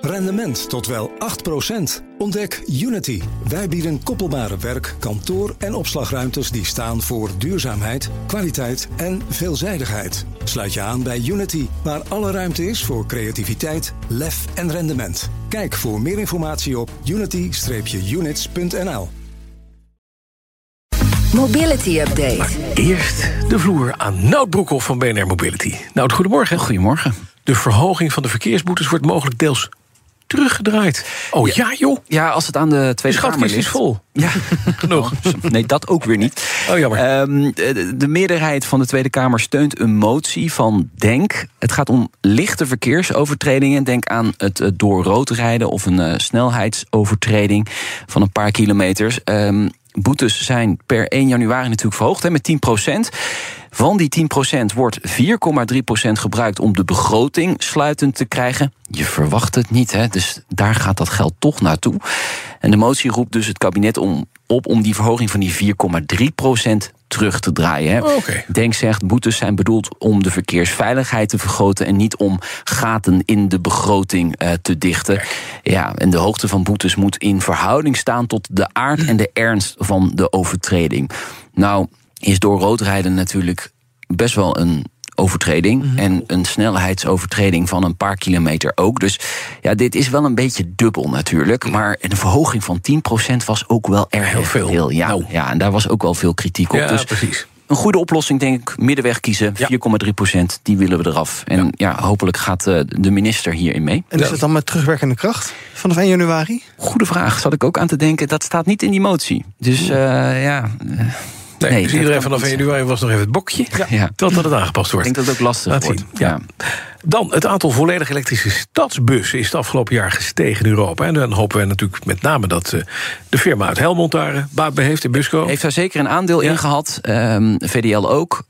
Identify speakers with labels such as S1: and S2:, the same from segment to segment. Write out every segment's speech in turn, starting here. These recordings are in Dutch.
S1: Rendement tot wel 8%. Ontdek Unity. Wij bieden koppelbare werk, kantoor en opslagruimtes die staan voor duurzaamheid, kwaliteit en veelzijdigheid. Sluit je aan bij Unity, waar alle ruimte is voor creativiteit, lef en rendement. Kijk voor meer informatie op unity-units.nl.
S2: Mobility Update.
S3: Eerst de vloer aan Nout Broekhoff van BNR Mobility. Nout, goedemorgen.
S4: Goedemorgen.
S3: De verhoging van de verkeersboetes wordt mogelijk deels teruggedraaid. Oh ja, joh.
S4: Ja, als het aan de
S3: De
S4: Tweede Kamer
S3: schatkist is
S4: ligt...
S3: vol.
S4: Ja,
S3: Genoeg.
S4: nee, dat ook weer niet.
S3: Oh, jammer.
S4: Ehm, de, de meerderheid van de Tweede Kamer steunt een motie van DENK. Het gaat om lichte verkeersovertredingen. Denk aan het eh, door rood rijden of een eh, snelheidsovertreding van een paar kilometers. Ehm, boetes zijn per 1 januari natuurlijk verhoogd hè, met 10 Van die 10% wordt 4,3% gebruikt om de begroting sluitend te krijgen. Je verwacht het niet, hè? dus daar gaat dat geld toch naartoe. En de motie roept dus het kabinet om, op om die verhoging van die 4,3% terug te draaien. Hè?
S3: Oké.
S4: Denk zegt, boetes zijn bedoeld om de verkeersveiligheid te vergroten... en niet om gaten in de begroting eh, te dichten. Ja, en de hoogte van boetes moet in verhouding staan... tot de aard en de ernst van de overtreding. Nou, is door rood rijden natuurlijk best wel een overtreding...
S3: Mhm.
S4: en een snelheidsovertreding van een paar kilometer ook. Dus ja, dit is wel een beetje dubbel natuurlijk. Maar een verhoging van 10% was ook wel erg
S3: Heel veel.
S4: veel. Ja,
S3: Nou.
S4: ja, en daar was ook wel veel kritiek op.
S3: Ja,
S4: dus
S3: precies.
S4: een goede oplossing, denk ik. Middenweg kiezen.
S3: Ja.
S4: 4,3 procent, die willen we eraf. En ja, hopelijk gaat eh, de minister hierin mee.
S5: En is het dan met terugwerkende kracht vanaf 1 januari?
S4: Goede vraag, zat ik ook aan te denken. Dat staat niet in die motie. Dus eh, ja, eh,
S3: Nee,
S4: Nee,
S3: dus
S4: dat
S3: iedereen
S4: kan
S3: vanaf 1
S4: niet
S3: januari was nog even het bokje. Ja.
S4: Ja.
S3: Totdat het aangepast
S4: ik
S3: wordt.
S4: denk dat het ook lastig
S3: Laat
S4: wordt.
S3: zien, ja. Dan, het aantal volledig elektrische stadsbussen is het afgelopen jaar gestegen in Europa. En dan hopen we natuurlijk met name dat eh, de firma uit Helmond daar eh, baat bij heeft, in Busco.
S4: Heeft daar zeker een aandeel in gehad, ehm, VDL ook.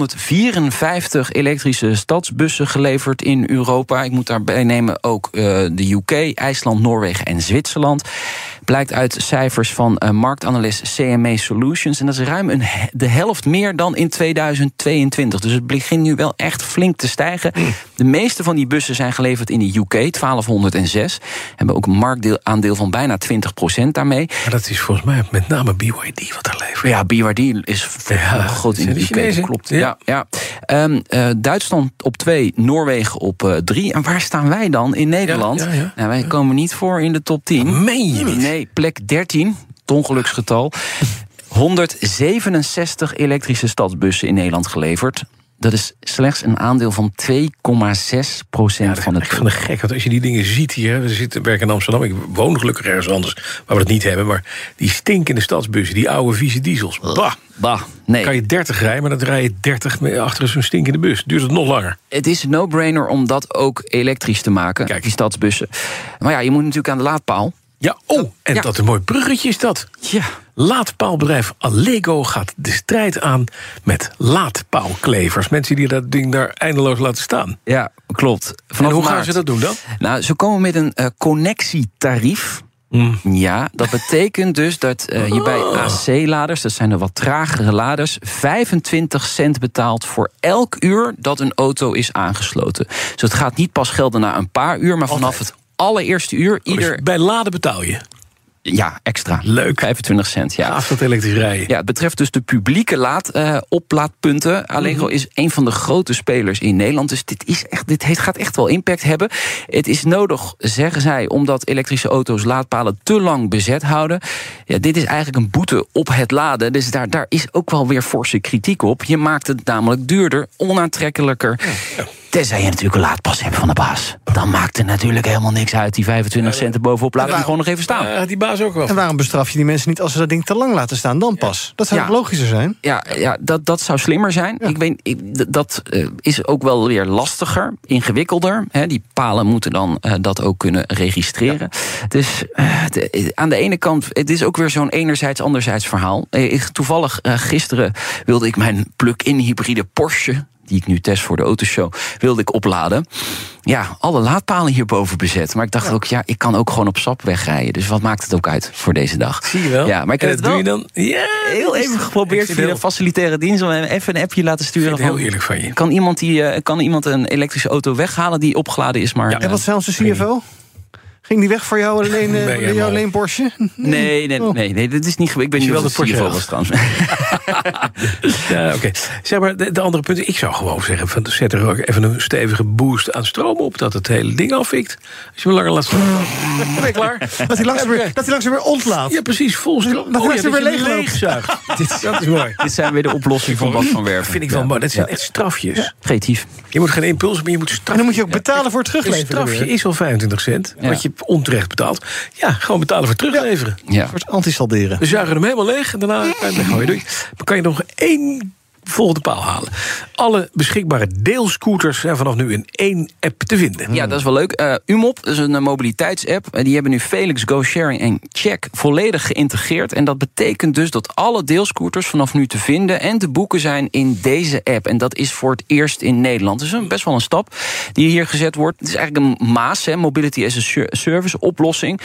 S4: 6.354 elektrische stadsbussen geleverd in Europa. Ik moet daarbij nemen ook eh, de UK, IJsland, Noorwegen en Zwitserland. Blijkt uit cijfers van eh, marktanalist CME Solutions. En dat is ruim een, he- de helft meer dan in 2022. Dus het begint nu wel echt flink te stijgen. De meeste van die bussen zijn geleverd in de UK, 1206. Hebben ook een marktaandeel van bijna 20% daarmee.
S3: Maar dat is volgens mij met name BYD wat daar levert.
S4: Ja, BYD is v-
S3: Ja,
S4: groot in
S3: zijn
S4: de
S3: de
S4: UK, dat
S3: Chinezen.
S4: klopt.
S3: Ja.
S4: Ja. Ja, Ehm, eh, Duitsland op twee, Noorwegen op eh, drie. En waar staan wij dan in Nederland?
S3: ja, ja.
S4: Nou, wij komen niet voor in de top 10.
S3: Meen je niet?
S4: Nee, plek 13, het ongeluksgetal. 167 elektrische stadsbussen in Nederland geleverd. Dat is slechts een aandeel van 2,6 procent van het
S3: Ik vind het gek, want als je die dingen ziet hier... We zitten, werken in Amsterdam, ik woon gelukkig ergens anders... waar we het niet hebben, maar die stinkende stadsbussen... die oude vieze diesels, bah.
S4: Bah, nee.
S3: Kan je 30 rijden, maar dan rij je 30 mee achter zo'n stinkende bus. Duurt het nog langer.
S4: Het is een no-brainer om dat ook elektrisch te maken,
S3: Kijk.
S4: die stadsbussen. Maar ja, je moet natuurlijk aan de laadpaal.
S3: Ja, oh, en
S4: Ja.
S3: dat een mooi bruggetje is dat.
S4: Ja.
S3: Laadpaalbedrijf Allego gaat de strijd aan met laadpaalklevers. Mensen die dat ding daar eindeloos laten staan.
S4: Ja, klopt.
S3: En
S4: Vanaf
S3: hoe gaan
S4: maart.
S3: ze dat doen dan?
S4: Nou, ze komen met een eh, connectietarief.
S3: Hmm.
S4: Ja, dat betekent dus dat eh, je bij AC-laders, dat zijn de wat tragere laders, 25 cent betaalt voor elk uur dat een auto is aangesloten. Dus het gaat niet pas gelden na een paar uur, maar vanaf het allereerste uur
S3: Dus
S4: ieder
S3: bij laden betaal je.
S4: ja, extra.
S3: Leuk.
S4: 25 cent, ja.
S3: Af dat elektrisch rijden.
S4: Ja, het betreft dus de publieke laad, eh, oplaadpunten. Allegro is een van de grote spelers in Nederland. Dus dit, is echt, dit heeft, gaat echt wel impact hebben. Het is nodig, zeggen zij, omdat elektrische auto's laadpalen te lang bezet houden. Ja, dit is eigenlijk een boete op het laden. Dus daar, daar is ook wel weer forse kritiek op. Je maakt het namelijk duurder, onaantrekkelijker. Tenzij je natuurlijk een laadpas hebt van de baas. Dan maakt het natuurlijk helemaal niks uit. Die 25 cent erbovenop laat ik hem gewoon nog even staan.
S3: Ah, had die baas ook wel.
S5: En waarom bestraf je die mensen niet als ze dat ding te lang laten staan? Dan pas. Dat zou
S4: Ja.
S5: toch logischer zijn?
S4: Ja, ja dat, dat zou slimmer zijn. Ik weet, ik, d- dat eh, is ook wel weer lastiger, ingewikkelder. Hè, die palen moeten dan eh, dat ook kunnen registreren. Dus eh, de- eh, aan de ene kant, het is ook weer zo'n enerzijds-anderzijds verhaal. Eh, ik- toevallig eh, gisteren wilde ik mijn plug-in hybride Porsche. die ik nu test voor de autoshow, wilde ik opladen. Ja, alle laadpalen hierboven bezet. Maar ik dacht ook, ja, ik kan ook gewoon op sap wegrijden. Dus wat maakt het ook uit voor deze dag?
S3: Zie je wel.
S4: Ja, maar ik
S3: En
S4: heb het
S3: dat doe
S4: wel
S3: je dan. Ja,
S4: heel even
S3: Ik
S4: geprobeerd
S3: vind
S4: via
S3: heel-
S4: de facilitaire dienst om hem even een appje laten
S3: Ik
S4: sturen.
S3: vind het heel
S4: van,
S3: eerlijk van je.
S4: Kan iemand, die, eh, kan iemand een elektrische auto weghalen die opgeladen is, maar...
S3: Ja.
S4: eh,
S5: En wat zei onze CFO? Ging die weg voor jou alleen, eh,
S3: Ben je
S5: jouw
S3: mal.
S5: alleen Porsche?
S4: Nee, nee,
S5: Oh.
S4: nee, nee, dit is niet... ge- Ik ben
S3: Is
S4: niet
S3: je wel
S4: of
S3: de
S4: het
S3: Porsche
S4: CFO was trouwens.
S3: Ja, oké. Zeg maar, de, de andere punten. Ik zou gewoon zeggen: van, zet er ook even een stevige boost aan stroom op. Dat het hele ding afvikt. Als je hem langer laat staan. Ben je klaar?
S5: Dat hij langzaam weer, dat hij langzaam weer ontlaat.
S3: Ja, precies. Vol stroom. Oh
S5: Dat hij
S3: ja,
S5: ze weer
S3: je hem
S5: leegloopt.
S3: leegzuigt. Dit- dat is mooi.
S4: Dit zijn weer de oplossing van Bas van Werven.
S3: Vind ik wel
S4: Ja.
S3: mooi. Dat zijn
S4: Ja.
S3: echt strafjes.
S4: Creatief.
S3: Je moet geen impulsen, maar je moet
S5: En dan moet
S3: strafjes.
S5: je ook betalen voor het
S3: Een
S5: terugleveren.
S3: strafje
S5: weer.
S3: is al 25 cent.
S4: Ja.
S3: Wat je onterecht betaalt. Ja, gewoon betalen voor terugleveren.
S4: Ja.
S5: Een soort antisalderen.
S3: We zuigen hem helemaal leeg en daarna eh, dan gooi je doei. Dan kan je nog één volgende paal halen. Alle beschikbare deelscooters zijn vanaf nu in één app te vinden.
S5: Hmm.
S4: Ja, dat is wel leuk. Eh Umop dat is een eh, mobiliteitsapp. Eh, die hebben nu Felix, GoSharing en Check volledig geïntegreerd. En dat betekent dus dat alle deelscooters vanaf nu te vinden en te boeken zijn in deze app. En dat is voor het eerst in Nederland. Dus een, best wel een stap die hier gezet wordt. Het is eigenlijk een MAAS, hè, Mobility as a Ser- Service oplossing.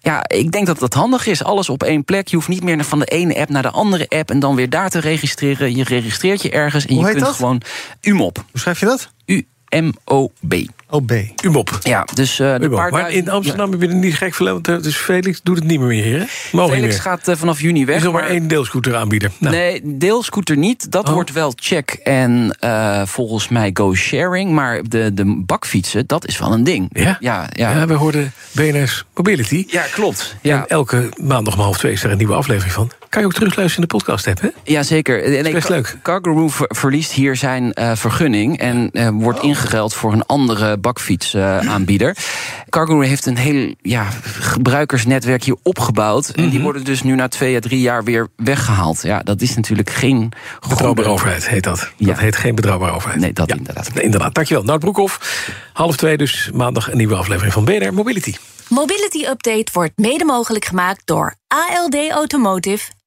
S4: Ja, ik denk dat dat handig is. Alles op één plek. Je hoeft niet meer van de ene app naar de andere app en dan weer daar te registreren. Je registreert je ergens en
S5: Hoe
S4: je
S5: heet
S4: kunt
S5: dat?
S4: gewoon Umop.
S5: Hoe schrijf je dat?
S4: U-M-O-B.
S5: OB.
S3: Umop.
S4: Ja, dus eh, de
S3: Umop.
S4: paar
S3: Maar in
S4: duizend-
S3: Amsterdam ben je er niet gek verleden. Want eh, dus Felix doet het niet meer meer, heren. Mogen niet
S4: Felix
S3: meer.
S4: gaat eh, vanaf juni
S3: Er
S4: weg.
S3: is nog maar één deelscooter aanbieder. Nou,
S4: Nee, deelscooter niet. Dat
S3: Oh.
S4: wordt wel check en eh, volgens mij go sharing. Maar de, de bakfietsen, dat is wel een ding.
S3: Ja?
S4: Ja, ja.
S3: ja, we hoorden BNS Mobility.
S4: Ja, klopt. Ja,
S3: En elke maandag om half twee is er een nieuwe aflevering van. Kan je ook terugluisteren in de podcast app, hè?
S4: ja zeker. En
S3: best
S4: Ka-
S3: leuk.
S4: Kangaroo ver- verliest hier zijn eh, vergunning en eh, wordt
S3: Oh.
S4: ingeruild voor een andere bakfietsaanbieder. Kangaroo heeft een heel ja, gebruikersnetwerk hier opgebouwd. En
S3: Mhm.
S4: die worden dus nu na twee à drie jaar weer weggehaald. Ja, dat is natuurlijk geen
S3: Betrouwbare
S4: goede-
S3: overheid heet dat.
S4: Ja.
S3: Dat heet geen betrouwbare overheid.
S4: Nee, dat inderdaad.
S3: Nee, inderdaad. Dankjewel. Nout Broekhoff. Half twee dus maandag een nieuwe aflevering van BNR Mobility.
S6: Mobility Update wordt mede mogelijk gemaakt door ALD Automotive